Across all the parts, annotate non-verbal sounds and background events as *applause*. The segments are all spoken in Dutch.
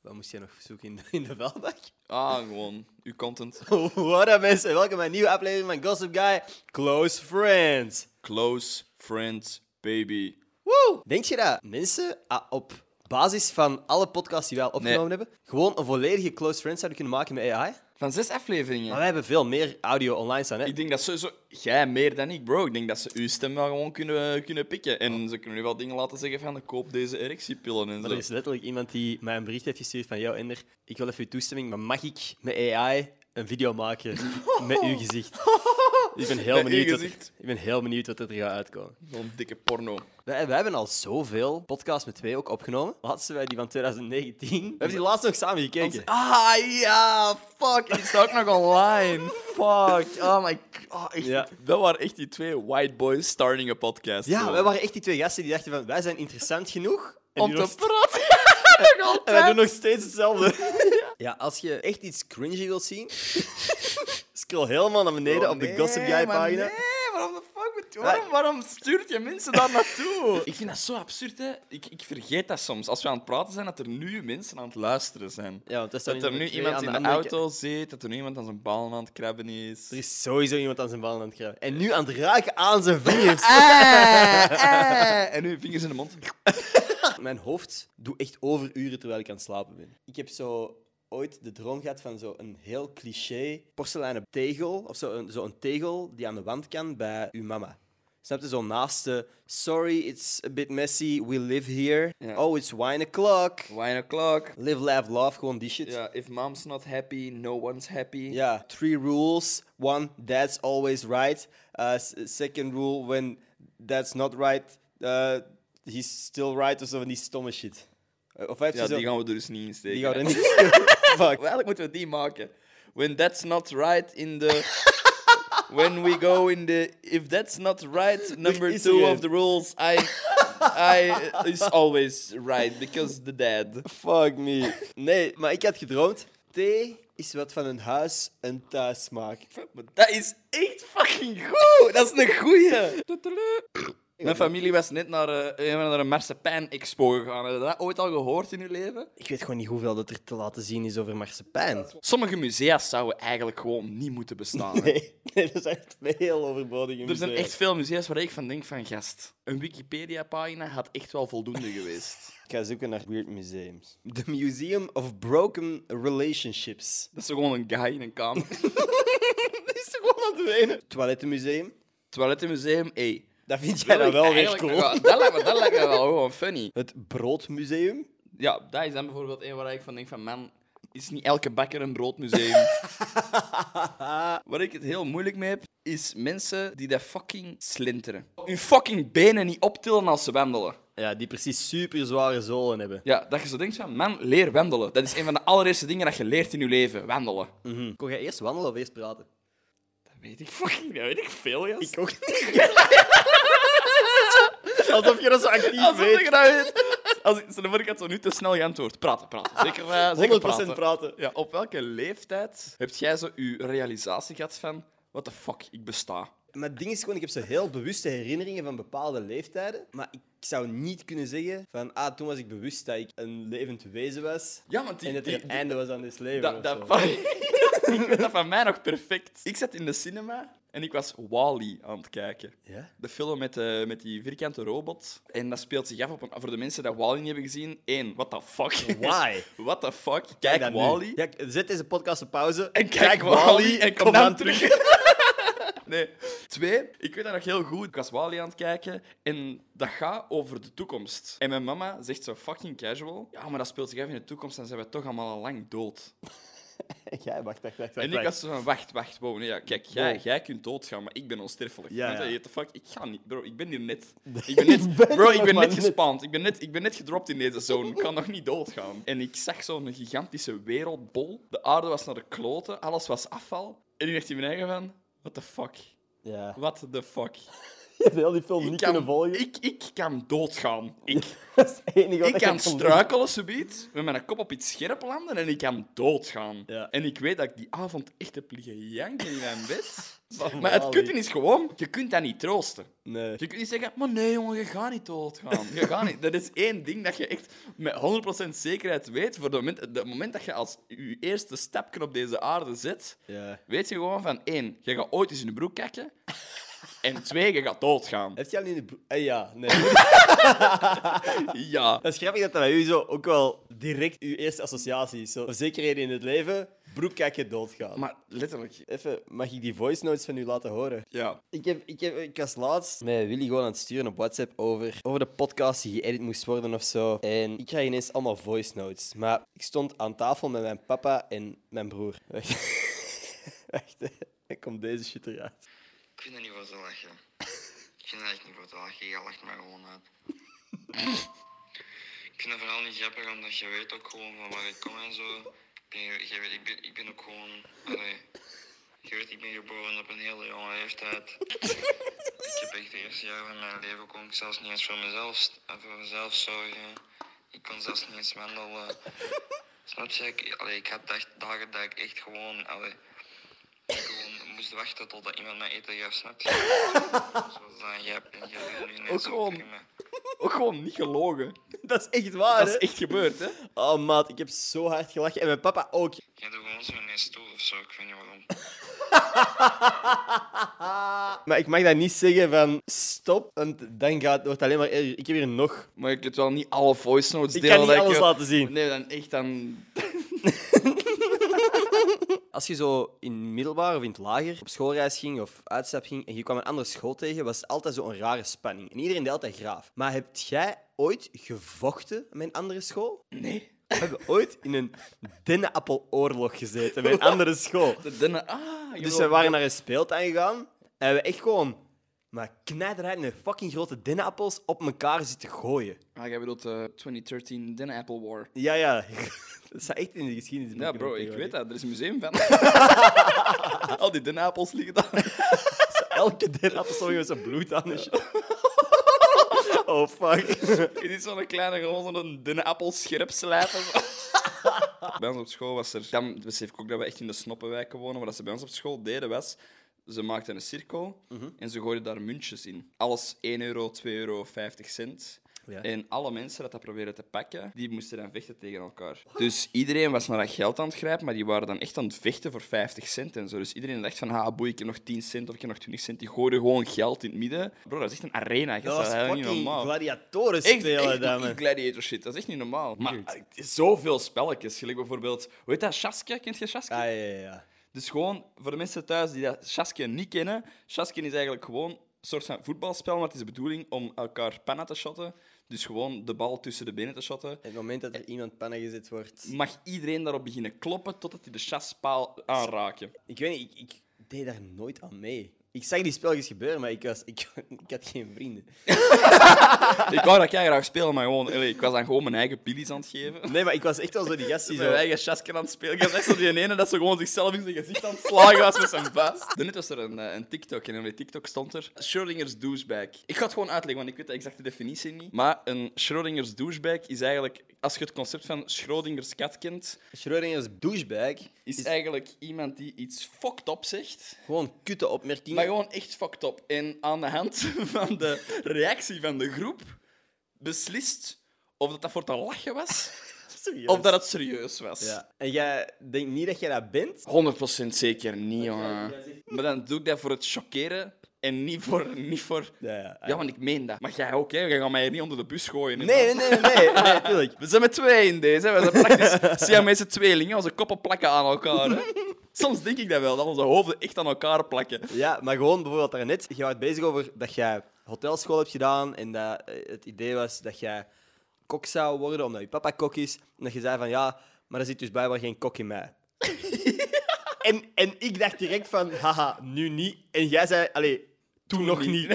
Wat moest jij nog zoeken in de, in de vuilbak? Ah, gewoon. Uw content. *laughs* What up mensen, welkom bij een nieuwe aflevering van Gossip Guy Close Friends. Close friends, baby. Woe! Denk je dat mensen ah, op basis van alle podcasts die wij al opgenomen hebben, gewoon een volledige Close Friends zouden kunnen maken met AI? Van zes Maar afleveringen. wij hebben veel meer audio online staan, hè? Ik denk dat sowieso... Jij meer dan ik, bro. Ik denk dat ze uw stem wel gewoon kunnen, kunnen pikken. En ze kunnen nu wel dingen laten zeggen van... Koop deze erectiepillen en Maar er zo. is letterlijk iemand die mij een bericht heeft gestuurd van... Yo, Ender, ik wil even uw toestemming, maar mag ik met AI een video *laughs* maken met uw gezicht? Ik ben heel, Met uw benieuwd wat, gezicht. ik ben heel benieuwd wat er gaat uitkomen. Zo'n dikke porno. Wij, wij hebben al zoveel podcasts met twee ook opgenomen. Laatste wij die van 2019. We hebben die laatst nog samen gekeken. Ah, ja. Fuck. Die staat ook nog online. *laughs* Fuck. Oh my god. echt. Ja. Dat waren echt die twee white boys starting a podcast. Ja, Zo. wij waren echt die twee gasten die dachten van... Wij zijn interessant genoeg. En Om die te nog- praten. *laughs* *laughs* Nog en wij altijd. doen nog steeds *laughs* hetzelfde. ja, als je echt iets cringy wilt zien... *laughs* Scroll helemaal naar beneden op de Gossip Guy pagina. Oh, Nee, waarom de fuck waarom, waarom stuurt je mensen daar Oh. naartoe? ik vind dat zo absurd, hè? Ik, ik vergeet dat soms. Als we aan het praten zijn, dat er nu mensen aan het luisteren zijn. Ja, want staan dat er hier nu twee iemand aan in de andere auto zit, dat er nu iemand aan zijn bal aan het krabben is. Er is sowieso iemand aan zijn ballen aan het krijgen. En nu aan het raken aan *laughs* zijn vingers. Ah. Eh, En nu vingers in de mond. Mijn hoofd doet echt overuren terwijl ik aan het slapen ben. Ik heb zo ooit de droom gehad van zo'n heel cliché porseleinen tegel. Of zo'n zo een tegel die aan de wand kan bij uw mama. Snap je? Zo'n naaste... Sorry, it's a bit messy. We live here. Ja. Oh, it's wine o'clock. Wine o'clock. Live, laugh, love. Gewoon die shit. Ja, if mom's not happy, no one's happy. Yeah, three rules. One, that's always right. Uh, s- second rule, when that's not right, uh, he's still right. Of zo van die stomme shit. Uh, Of heb je Ja, zo... die gaan we er dus niet in steken. die gaan we er *laughs* niet... Fuck. Eigenlijk moeten we die maken. When that's not right in the. *laughs* When we go in the. If that's not *laughs* right, number is two er of een. the rules, I. *laughs* I is always right because the dad. Fuck me. Nee, maar ik had gedroomd. Thee is wat van een huis en thuis smaakt. Maar dat is echt fucking goed! Dat is een goeie! Mijn familie was net naar, eh, naar een marsepein-expo gegaan. Heb je dat ooit al gehoord in uw leven? Ik weet gewoon niet hoeveel dat er te laten zien is over marsepein. *laughs* Sommige musea zouden eigenlijk gewoon niet moeten bestaan. hè. Nee, nee, dat zijn echt heel overbodige Er zijn musea. echt veel musea's waar ik van denk van gast. Een Wikipedia-pagina had echt wel voldoende geweest. *laughs* Ik ga zoeken naar weird museums. The Museum of Broken Relationships. *laughs* Dat is toch gewoon een guy in een kamer. Die is toch gewoon aan het wenen. Toilettenmuseum. Toilettenmuseum, ey. Dat vind jij dan ik wel weer eigenlijk cool. nog wel- dat, lijkt me, dat lijkt me wel gewoon funny. Het broodmuseum. Ja, dat is dan bijvoorbeeld één waar ik van denk van man, is niet elke bakker een *laughs* broodmuseum? waar ik het heel moeilijk mee heb, is mensen die dat fucking slinteren. Hun fucking benen niet optillen als ze wandelen. Ja, die precies super zware zolen hebben. Ja, dat je zo denkt van man, leer wandelen. Dat is een van de allereerste dingen dat je leert in je leven, wandelen. Kon jij eerst wandelen of eerst praten? Weet ik fucking, dat weet ik veel, gast. ook niet. *laughs* Alsof je dat zo actief Als weet. ik dat weet. *laughs* Als ik, stel je voor, ik had zo nu te snel geantwoord. Praten, praten. Zeker, eh, zeker 100% praten. praten. Ja, op welke leeftijd heb jij zo je realisatie gehad van... What the fuck, ik besta. Maar het ding is gewoon, ik heb zo heel bewuste herinneringen van bepaalde leeftijden. Maar ik zou niet kunnen zeggen van, ah, toen was ik bewust dat ik een levend wezen was. Ja, want die... en dat er die- een einde was aan dit leven. dat, of dat, zo. *laughs* ik weet dat van mij nog perfect. Ik zat in de cinema en ik was Wally aan het kijken. Ja? De film met, eh, met die vierkante robot. En dat speelt zich af op een... Voor de mensen die Wally niet hebben gezien, één, what the fuck. Why? *laughs* what the fuck, kijk Dat nu. Wally. Ja, zet deze podcast op pauze. En kijk, Wally, en kom dan terug. *laughs* Nee. Twee, ik weet dat nog heel goed. Ik was Wally aan het kijken en dat gaat over de toekomst. En mijn mama zegt zo fucking casual. Ja, maar dat speelt zich af in de toekomst en zijn we toch allemaal al lang dood. *laughs* Jij wacht, wacht, wacht. En ik was zo van, wacht, wacht, wow, nee, ja, kijk, jij, Wow. jij kunt doodgaan, maar ik ben onsterfelijk. Ja, Want, ja. eh, what the fuck, ik ga niet, bro, ik ben hier *laughs* net. Ik ben net, ik ben bro, er ik nog ben maar net net. gespaand, ik ben net, ik ben net gedropt in deze zone, ik kan nog niet *laughs* doodgaan. En ik zag zo'n gigantische wereldbol, de aarde was naar de kloten, alles was afval. En ik dacht in mijn eigen van, what the fuck, Ja. what the fuck. Je hebt heel die film niet kunnen volgen. ik, ik kan doodgaan. Ik, *laughs* dat is het enige wat ik kan heb geleerd. struikelen subiet, met mijn kop op iets scherp landen en ik kan doodgaan. Ja. En ik weet dat ik die avond echt heb liggen janken in mijn bed. Zalig. maar het kutte is gewoon, je kunt dat niet troosten. Nee. Je kunt niet zeggen, maar nee jongen, je gaat niet doodgaan. Je gaat niet. Dat is één ding dat je echt met 100% zekerheid weet. Voor het moment, het moment dat je als je eerste stapje op deze aarde zet, Ja. weet je gewoon van één, je gaat ooit eens in de broek kakken. En twee, je gaat doodgaan. Heeft jij al in de broek? Eh, ja, *laughs* nee. Ja. dat is grappig dat dat bij u zo ook wel direct uw eerste associatie is. Zo, zekerheden in het leven, broek kijken, doodgaan. Maar letterlijk, Even, mag ik die voice notes van u laten horen? ja. Ik, heb, ik, heb, ik was laatst met Willy gewoon aan het sturen op WhatsApp over, over de podcast die geëdit moest worden of zo. En ik krijg ineens allemaal voice notes. Maar ik stond aan tafel met mijn papa en mijn broer. *laughs* Wacht, Wacht, hè. dan komt deze shit eruit. Ik vind er niet voor te lachen. Ik vind er echt niet voor te lachen. Je lacht maar gewoon uit. Ik vind het vooral niet grappig, omdat je weet ook gewoon van waar ik kom en zo. Ik ben, je je weet, ik ben, ik ben ook gewoon... Allee, je weet, ik ben geboren op een hele jonge leeftijd. Ik heb echt de eerste jaren van mijn leven kon ik zelfs niet eens voor mezelf, eh, voor mezelf zorgen. Ik kon zelfs niet eens wandelen. Snap je? Ik, allee, ik had echt dagen dat ik echt gewoon... Allee, ik gewoon moest wachten totdat iemand mij eten gaf, snap je? Zoals dat, jij hebt en jij doet nu ineens Ook gewoon. in me. Ook gewoon niet gelogen. Dat is echt waar, Dat is echt gebeurd, hè? Oh, maat, ik heb zo hard gelachen. En mijn papa ook. Jij doet gewoon zo ineens toe of zo, ik weet niet waarom. Maar ik mag dat niet zeggen van stop, want dan gaat, wordt het alleen maar erger. Ik heb hier nog. Maar ik heb wel niet alle voice notes Ik delen. kan niet dat alles ik- eh, laten zien. Nee, dan echt dan... Als je zo in middelbaar of in het lager op schoolreis ging of uitstap ging en je kwam een andere school tegen, was het altijd zo'n rare spanning. En iedereen deed altijd graaf. Maar heb jij ooit gevochten met een andere school? Nee. We hebben ooit in een dennenappeloorlog gezeten met een andere school. De dunne... Ah, je Dus wil- we waren naar een speeltuin gegaan en we echt gewoon maar knijterheid met fucking grote dennenappels op elkaar zitten gooien. Ah, jij bedoelt eh 2013 Den Apple War. Ja, ja. *laughs* Dat staat echt in de geschiedenis. Ja, bro, ik weet *laughs* dat. Er is een museum van. Al die Den Appels liggen daar. Elke dennenappel stond met zijn bloed aan. *laughs* en shit. Oh, fuck. Het is zo'n kleine, gewoon zo'n dunne appel scherp slijpen. *laughs* bij ons op school was er... Dan besef ik ook dat we echt in de snoppenwijken wonen. Maar wat ze bij ons op school deden was... Ze maakten een cirkel Mhm. en ze gooiden daar muntjes in. Alles 1 euro, 2 euro, 50 cent. Ja. En alle mensen dat dat probeerden te pakken, die moesten dan vechten tegen elkaar. Dus iedereen was naar dat geld aan het grijpen, maar die waren dan echt aan het vechten voor 50 cent en zo. Dus iedereen dacht van, ha, boei, ik heb nog 10 cent of ik heb nog 20 cent. Die gooiden gewoon geld in het midden. Bro, dat is echt een arena. gast. Dat was is niet fucking normaal. gladiatoren Echt, spelen, echt dan, die man. gladiator shit, dat is echt niet normaal. Maar eh, zoveel spelletjes, gelijk bijvoorbeeld, hoe heet dat, Shaskja? Kent je Shaskja? Ah, ja, ja, ja. Dus gewoon, voor de mensen thuis die dat Shaskja niet kennen, Shaskja is eigenlijk gewoon een soort van voetbalspel, maar het is de bedoeling om elkaar pannen te shotten. Dus gewoon de bal tussen de benen te shotten. Het moment dat er iemand pannen gezet wordt. Mag iedereen daarop beginnen kloppen totdat hij de chaspaal aanraken. Ik weet niet, ik, ik deed daar nooit aan mee. Ik zag die spelletjes gebeuren, maar ik, was, ik, *laughs* ik had geen vrienden. ik wou dat jij graag spelen, maar gewoon, allee, ik was dan gewoon mijn eigen pillies aan het geven. Nee, maar ik was echt wel zo die gast die Zijn zo... eigen chasken aan het spelen. Je zegt zo die ene dat ze gewoon zichzelf in zijn gezicht aan het slagen was met zijn vuist. Daarnet was er een, eh, een TikTok en op die TikTok stond er Schrodinger's douchebag. Ik ga het gewoon uitleggen, want ik weet de exacte definitie niet. Maar een Schrodinger's douchebag is eigenlijk, als je het concept van Schrodinger's kat kent, Schrodinger's douchebag is eigenlijk iemand die iets fucked up zegt. gewoon kutte opmerkingen. Maar gewoon echt fucked up. En aan de hand *laughs* van de reactie van de groep beslist of dat, dat voor te lachen was Serieus. of dat het serieus was. Ja. En jij denkt niet dat jij dat bent? Oh, 100% zeker niet, jongen. Maar dan doe ik dat voor het chockeren en niet voor. Niet voor... Ja, ja. Ja, want ik meen dat. Maar jij ook, hè? Jij gaat mij hier niet onder de bus gooien. hè, Nee, man. nee, nee, nee, nee, *laughs* natuurlijk. We zijn met twee in deze. hè. We zijn *laughs* praktisch Siamese tweelingen. Onze koppen plakken aan elkaar. *laughs* Hè? Soms denk ik dat wel, dat onze hoofden echt aan elkaar plakken. Ja, maar gewoon bijvoorbeeld daarnet, je was bezig over dat jij hotelschool hebt gedaan en dat eh, het idee was dat jij kok zou worden omdat je papa kok is. En dat je zei van ja, maar er zit dus blijkbaar geen kok in mij. en, en ik dacht direct van haha, nu niet. En jij zei, allee, toen, nog niet.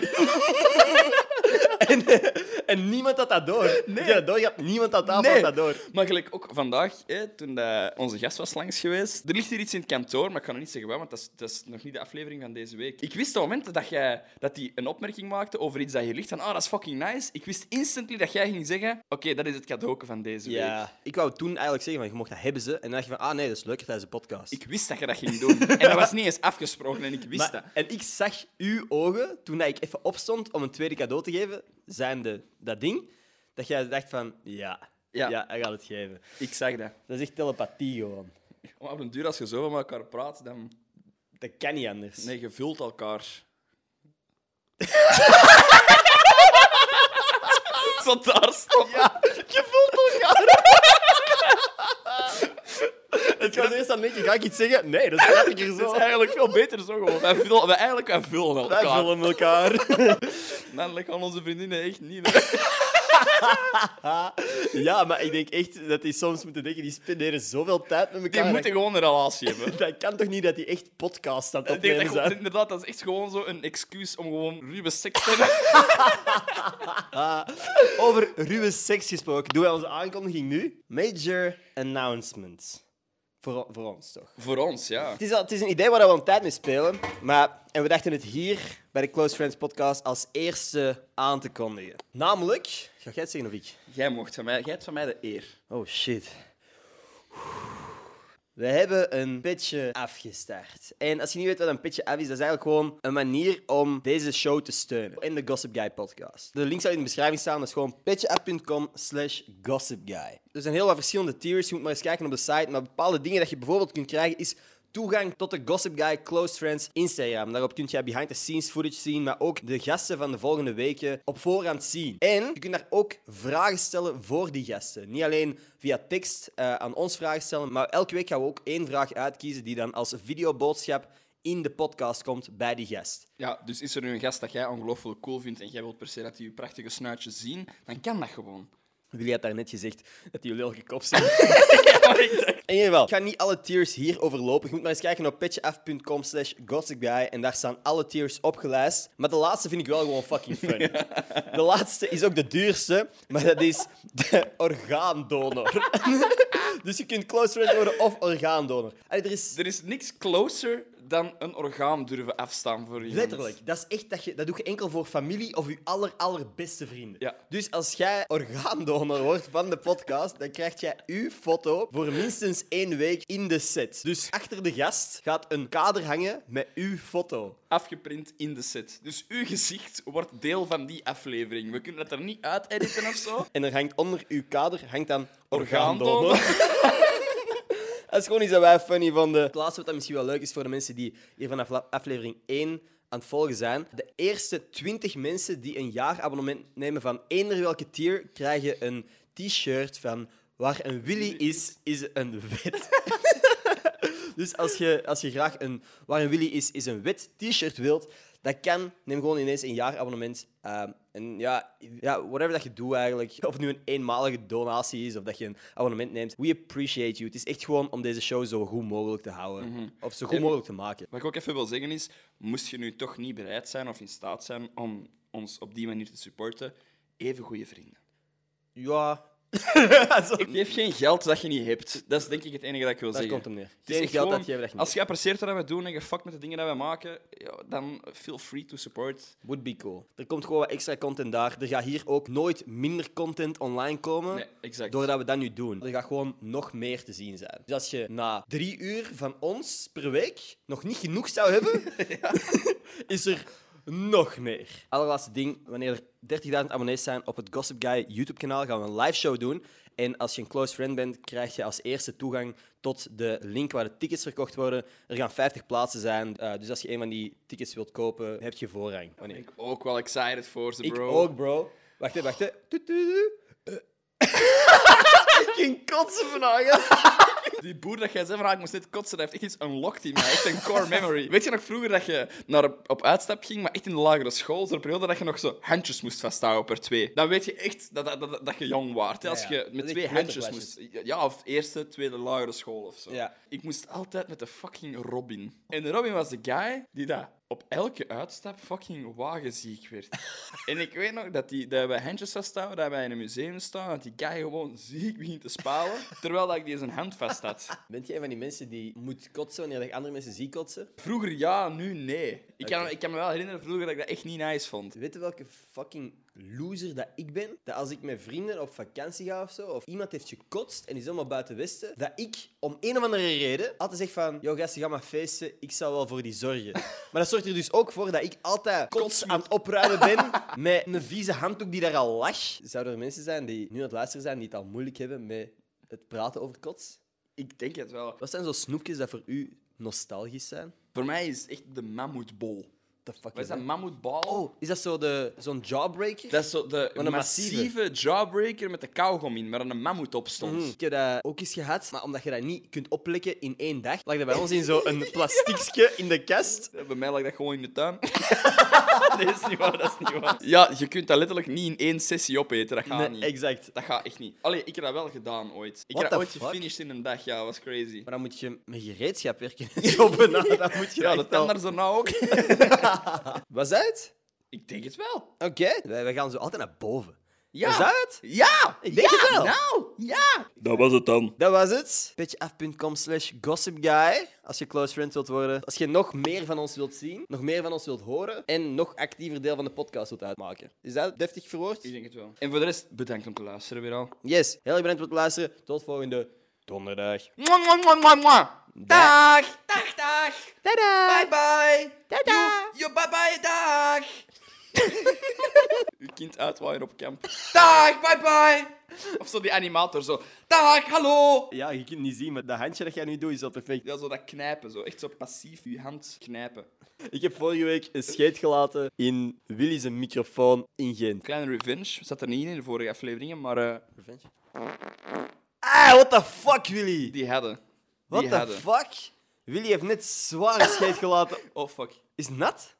en, eh, en En niemand had dat door. Nee. dat door had, niemand aan tafel Nee. had dat door. Maar gelijk ook vandaag, hè, toen dat onze gast was langs geweest. Er ligt hier iets in het kantoor, maar ik kan nog niet zeggen waar, want dat is, dat is nog niet de aflevering van deze week. Ik wist op het moment dat jij dat die een opmerking maakte over iets dat hier ligt, van ah, dat is fucking nice. Ik wist instantly dat jij ging zeggen, oké, dat is het cadeauke van deze week. Ja. Ik wou toen eigenlijk zeggen, van, je mocht dat hebben ze. En dan dacht je van, ah nee, dat is leuk tijdens de podcast. Ik wist dat je dat ging doen. En dat was niet eens afgesproken en ik wist Maar- dat. En ik zag uw ogen, toen dat ik even opstond om een tweede cadeau te geven, zijnde dat ding, dat jij dacht van, ja, Ja. ja. hij gaat het geven. Ik zag dat. Dat is echt telepathie gewoon. Maar op een duur, als je zo met elkaar praat, dan... Dat kan niet anders. Nee, je vult *laughs* elkaar. Zo daar stoppen. Je voelt elkaar. Het was eerst aan denken, ga ik iets zeggen? Nee, *laughs* dat is grappiger Het zo. is eigenlijk veel beter zo gewoon. Wij vullen, wij eigenlijk, wij vullen Wij elkaar. vullen elkaar. *laughs* Man, lekker aan onze vriendinnen echt niet. hè. Ja, maar ik denk echt dat die soms moeten denken, die spenderen zoveel tijd met Die elkaar. moeten gewoon een relatie hebben. dat, dat kan toch niet dat die echt podcast aan het Ik denk opnemen dat, gewoon- zijn? inderdaad, dat is echt gewoon zo een excuus om gewoon ruwe *laughs* seks te hebben. Over ruwe seks gesproken, doen wij onze aankondiging nu. Major announcement. Voor, voor ons, toch? Voor ons, ja. Het is, al, het is een idee waar we al een tijd mee spelen. Maar, en we dachten het hier, bij de Close Friends podcast, als eerste aan te kondigen. Namelijk... Ga jij het zeggen of ik? Jij mocht van mij, jij hebt van mij de eer. Oh, shit. We hebben een pitje afgestart. En als je niet weet wat een pitje af is, dat is eigenlijk gewoon een manier om deze show te steunen. In de Gossip Guy podcast. De link zal in de beschrijving staan. Dat is gewoon pitjeaf.com slash gossipguy. Er zijn heel wat verschillende tiers. Je moet maar eens kijken op de site. Maar bepaalde dingen dat je bijvoorbeeld kunt krijgen is toegang tot de Gossip Guy Close Friends Instagram. Daarop kun je behind the scenes footage zien, maar ook de gasten van de volgende weken op voorhand zien. En je kunt daar ook vragen stellen voor die gasten. Niet alleen via tekst eh, aan ons vragen stellen, maar elke week gaan we ook één vraag uitkiezen die dan als videoboodschap in de podcast komt bij die gast. Ja, dus is er nu een gast dat jij ongelooflijk cool vindt en jij wilt per se dat die je prachtige snuitje zien, dan kan dat gewoon. Jullie had daarnet gezegd dat jullie elke kop *laughs* zijn. In ieder geval, ik ga niet alle tiers hier overlopen. Je moet maar eens kijken op pitjeaf.com slash gossipguy. En daar staan alle tiers opgelijst. Maar de laatste vind ik wel gewoon fucking fun. *laughs* De laatste is ook de duurste, maar dat is de *laughs* orgaandonor. dus je kunt close friend worden of orgaandonor. Allee, er is... Er is niks closer dan een orgaan durven afstaan voor iemand. Letterlijk, dat is echt dat je dat doe je enkel voor familie of je aller allerbeste vrienden. Ja. Dus als jij orgaandonor wordt van de podcast, dan krijg jij uw foto voor minstens één week in de set. Dus achter de gast gaat een kader hangen met uw foto. afgeprint in de set. Dus uw gezicht wordt deel van die aflevering. We kunnen dat er niet uit editen of zo. En er hangt onder uw kader hangt dan Orgaandonor. orgaandonor. *laughs* dat is gewoon iets dat wij funny vonden. Het laatste wat dat misschien wel leuk is voor de mensen die hier vanaf la- aflevering 1 aan het volgen zijn. De eerste 20 mensen die een jaarabonnement nemen van eender welke tier, krijgen een t-shirt van waar een willy is, is een wet. dus als je, als je graag een waar een willy is, is een wet t-shirt wilt, dat kan. Neem gewoon ineens een jaarabonnement. Ehm, en ja, ja, whatever dat je doet eigenlijk, *laughs* of het nu een eenmalige donatie is of dat je een abonnement neemt, we appreciate you. Het is echt gewoon om deze show zo goed mogelijk te houden. Of zo goed En- mogelijk te maken. Wat ik ook even wil zeggen is, moest je nu toch niet bereid zijn of in staat zijn om ons op die manier te supporten, even goede vrienden. *laughs* Ja, zo. Geef geen geld dat je niet hebt. Dat is denk ik het enige dat ik wil daar zeggen. komt hem neer. Het is Geen echt geld gewoon, dat je dat je niet. Als je apprecieert wat we doen en je fuck met de dingen dat we maken, ja, dan feel free to support. Would be cool. Er komt gewoon wat extra content daar. Er gaat hier ook nooit minder content online komen. Nee, exact. Doordat we dat nu doen. Er gaat gewoon nog meer te zien zijn. Dus als je na drie uur van ons per week nog niet genoeg zou hebben, *laughs* is er nog meer. Allerlaatste ding, wanneer er 30.000 abonnees zijn op het Gossip Guy YouTube-kanaal, gaan we een live show doen. En als je een close friend bent, krijg je als eerste toegang tot de link waar de tickets verkocht worden. Er gaan 50 plaatsen zijn, eh, dus als je een van die tickets wilt kopen, heb je voorrang. Wanneer- Ik ook wel excited voor ze, ik bro. ook, bro. Wacht even, wacht even. Toet, toet, toet. Eh. Ik ging kotsen vandaag. Die boer dat jij zei van, ah, ik moest net kotsen, dat heeft echt iets unlocked in mij. Echt een core memory. Weet je nog vroeger dat je naar op, op uitstap ging, maar echt in de lagere school, zo'n periode dat je nog zo handjes moest vasthouden per twee. Dan weet je echt dat, dat, dat, dat je jong waart. hè, Ja, als ja. je Dat met is twee echt handjes moest... kleuterklasjes. Ja, of eerste, tweede, lagere school of zo. Ja. Ik moest altijd met de fucking Robin. En Robin was de guy die dat op elke uitstap fucking *laughs* wagenziek werd. en ik weet nog dat, die, dat wij handjes vasthouden, dat wij in een museum staan, dat die guy gewoon ziek begint te *laughs* spalen, terwijl dat ik die zijn hand vast had. Bent jij een van die mensen die moet kotsen wanneer dat andere mensen ziek kotsen? Vroeger ja, nu nee. Ik kan, Oké. ik kan me wel herinneren vroeger dat ik dat echt niet nice vond. Weet je welke fucking loser dat ik ben? Dat als ik met vrienden op vakantie ga of zo, of iemand heeft gekotst en is helemaal buiten Westen, dat ik om een of andere reden altijd zeg van: Yo, gasten, ga maar feesten, ik zal wel voor die *laughs* zorgen. Maar dat zorgt er dus ook voor dat ik altijd kots aan het opruimen *laughs* ben met een vieze handdoek die daar al lag. Zouden er mensen zijn die nu aan het luisteren zijn die het al moeilijk hebben met het praten over kots? Ik denk het wel. Wat zijn zo snoepjes dat voor u nostalgisch zijn? Voor mij is het echt de mammoetbol. The fuck Wat is dat? dat, mammoetbal? Oh, is dat zo de- zo'n jawbreaker? Dat is zo de Wat een massieve. massieve. jawbreaker met de kauwgom in, waar dan een mammoet op stond. Mhm. Ik heb dat ook eens gehad, maar omdat je dat niet kunt oplekken in één dag, lag dat bij ons in *laughs* *laughs* zo'n plastiekje in de kast. Bij mij lag dat gewoon in de tuin. *laughs* nee, dat is niet waar, dat is niet waar. Ja, je kunt dat letterlijk niet in één sessie opeten, dat gaat Nee, niet. exact. Dat gaat echt niet. Allee, ik heb dat wel gedaan ooit. Ik What heb dat the ooit fuck? gefinished in een dag, ja, dat was crazy. Maar dan moet je met gereedschap *laughs* werken. zo benaderd, dat moet je Ja, de echt wel- tender zo nou ook. *laughs* Was dat het? ik denk het wel. Oké. Wij, wij gaan zo altijd naar boven. Ja. Was dat het? Ja! Ik denk ja, het wel. Nou, ja! Dat was het dan. Dat was het. Petjeaf.com slash gossipguy. Als je close friend wilt worden. Als je nog meer van ons wilt zien. Nog meer van ons wilt horen. En nog actiever deel van de podcast wilt uitmaken. Is dat deftig verwoord? Ik denk het wel. En voor de rest, bedankt om te luisteren weer al. Yes. Heel erg bedankt voor het luisteren. Tot volgende donderdag. Mwah, mwah, mwah, mwah, mwah. Dag! Dag, dag! Tada! Bye bye! Tada. Yo, yo, bye bye, dag! *laughs* Uw kind uitwaaien op kamp. Dag, bye bye! Of zo die animator zo. Dag, hallo! Ja, je kunt het niet zien, maar dat handje dat jij nu doet is al perfect. Ja, zo dat knijpen, zo. Echt zo passief uw hand knijpen. Ik heb vorige week een scheet gelaten in Willy's microfoon in Gent. Kleine revenge zat er niet in in de vorige afleveringen, maar eh, Ah, what the fuck, Willy? die hadden. Die What the hadden. fuck? Willy heeft net zware scheet gelaten. Oh fuck. Is het nat?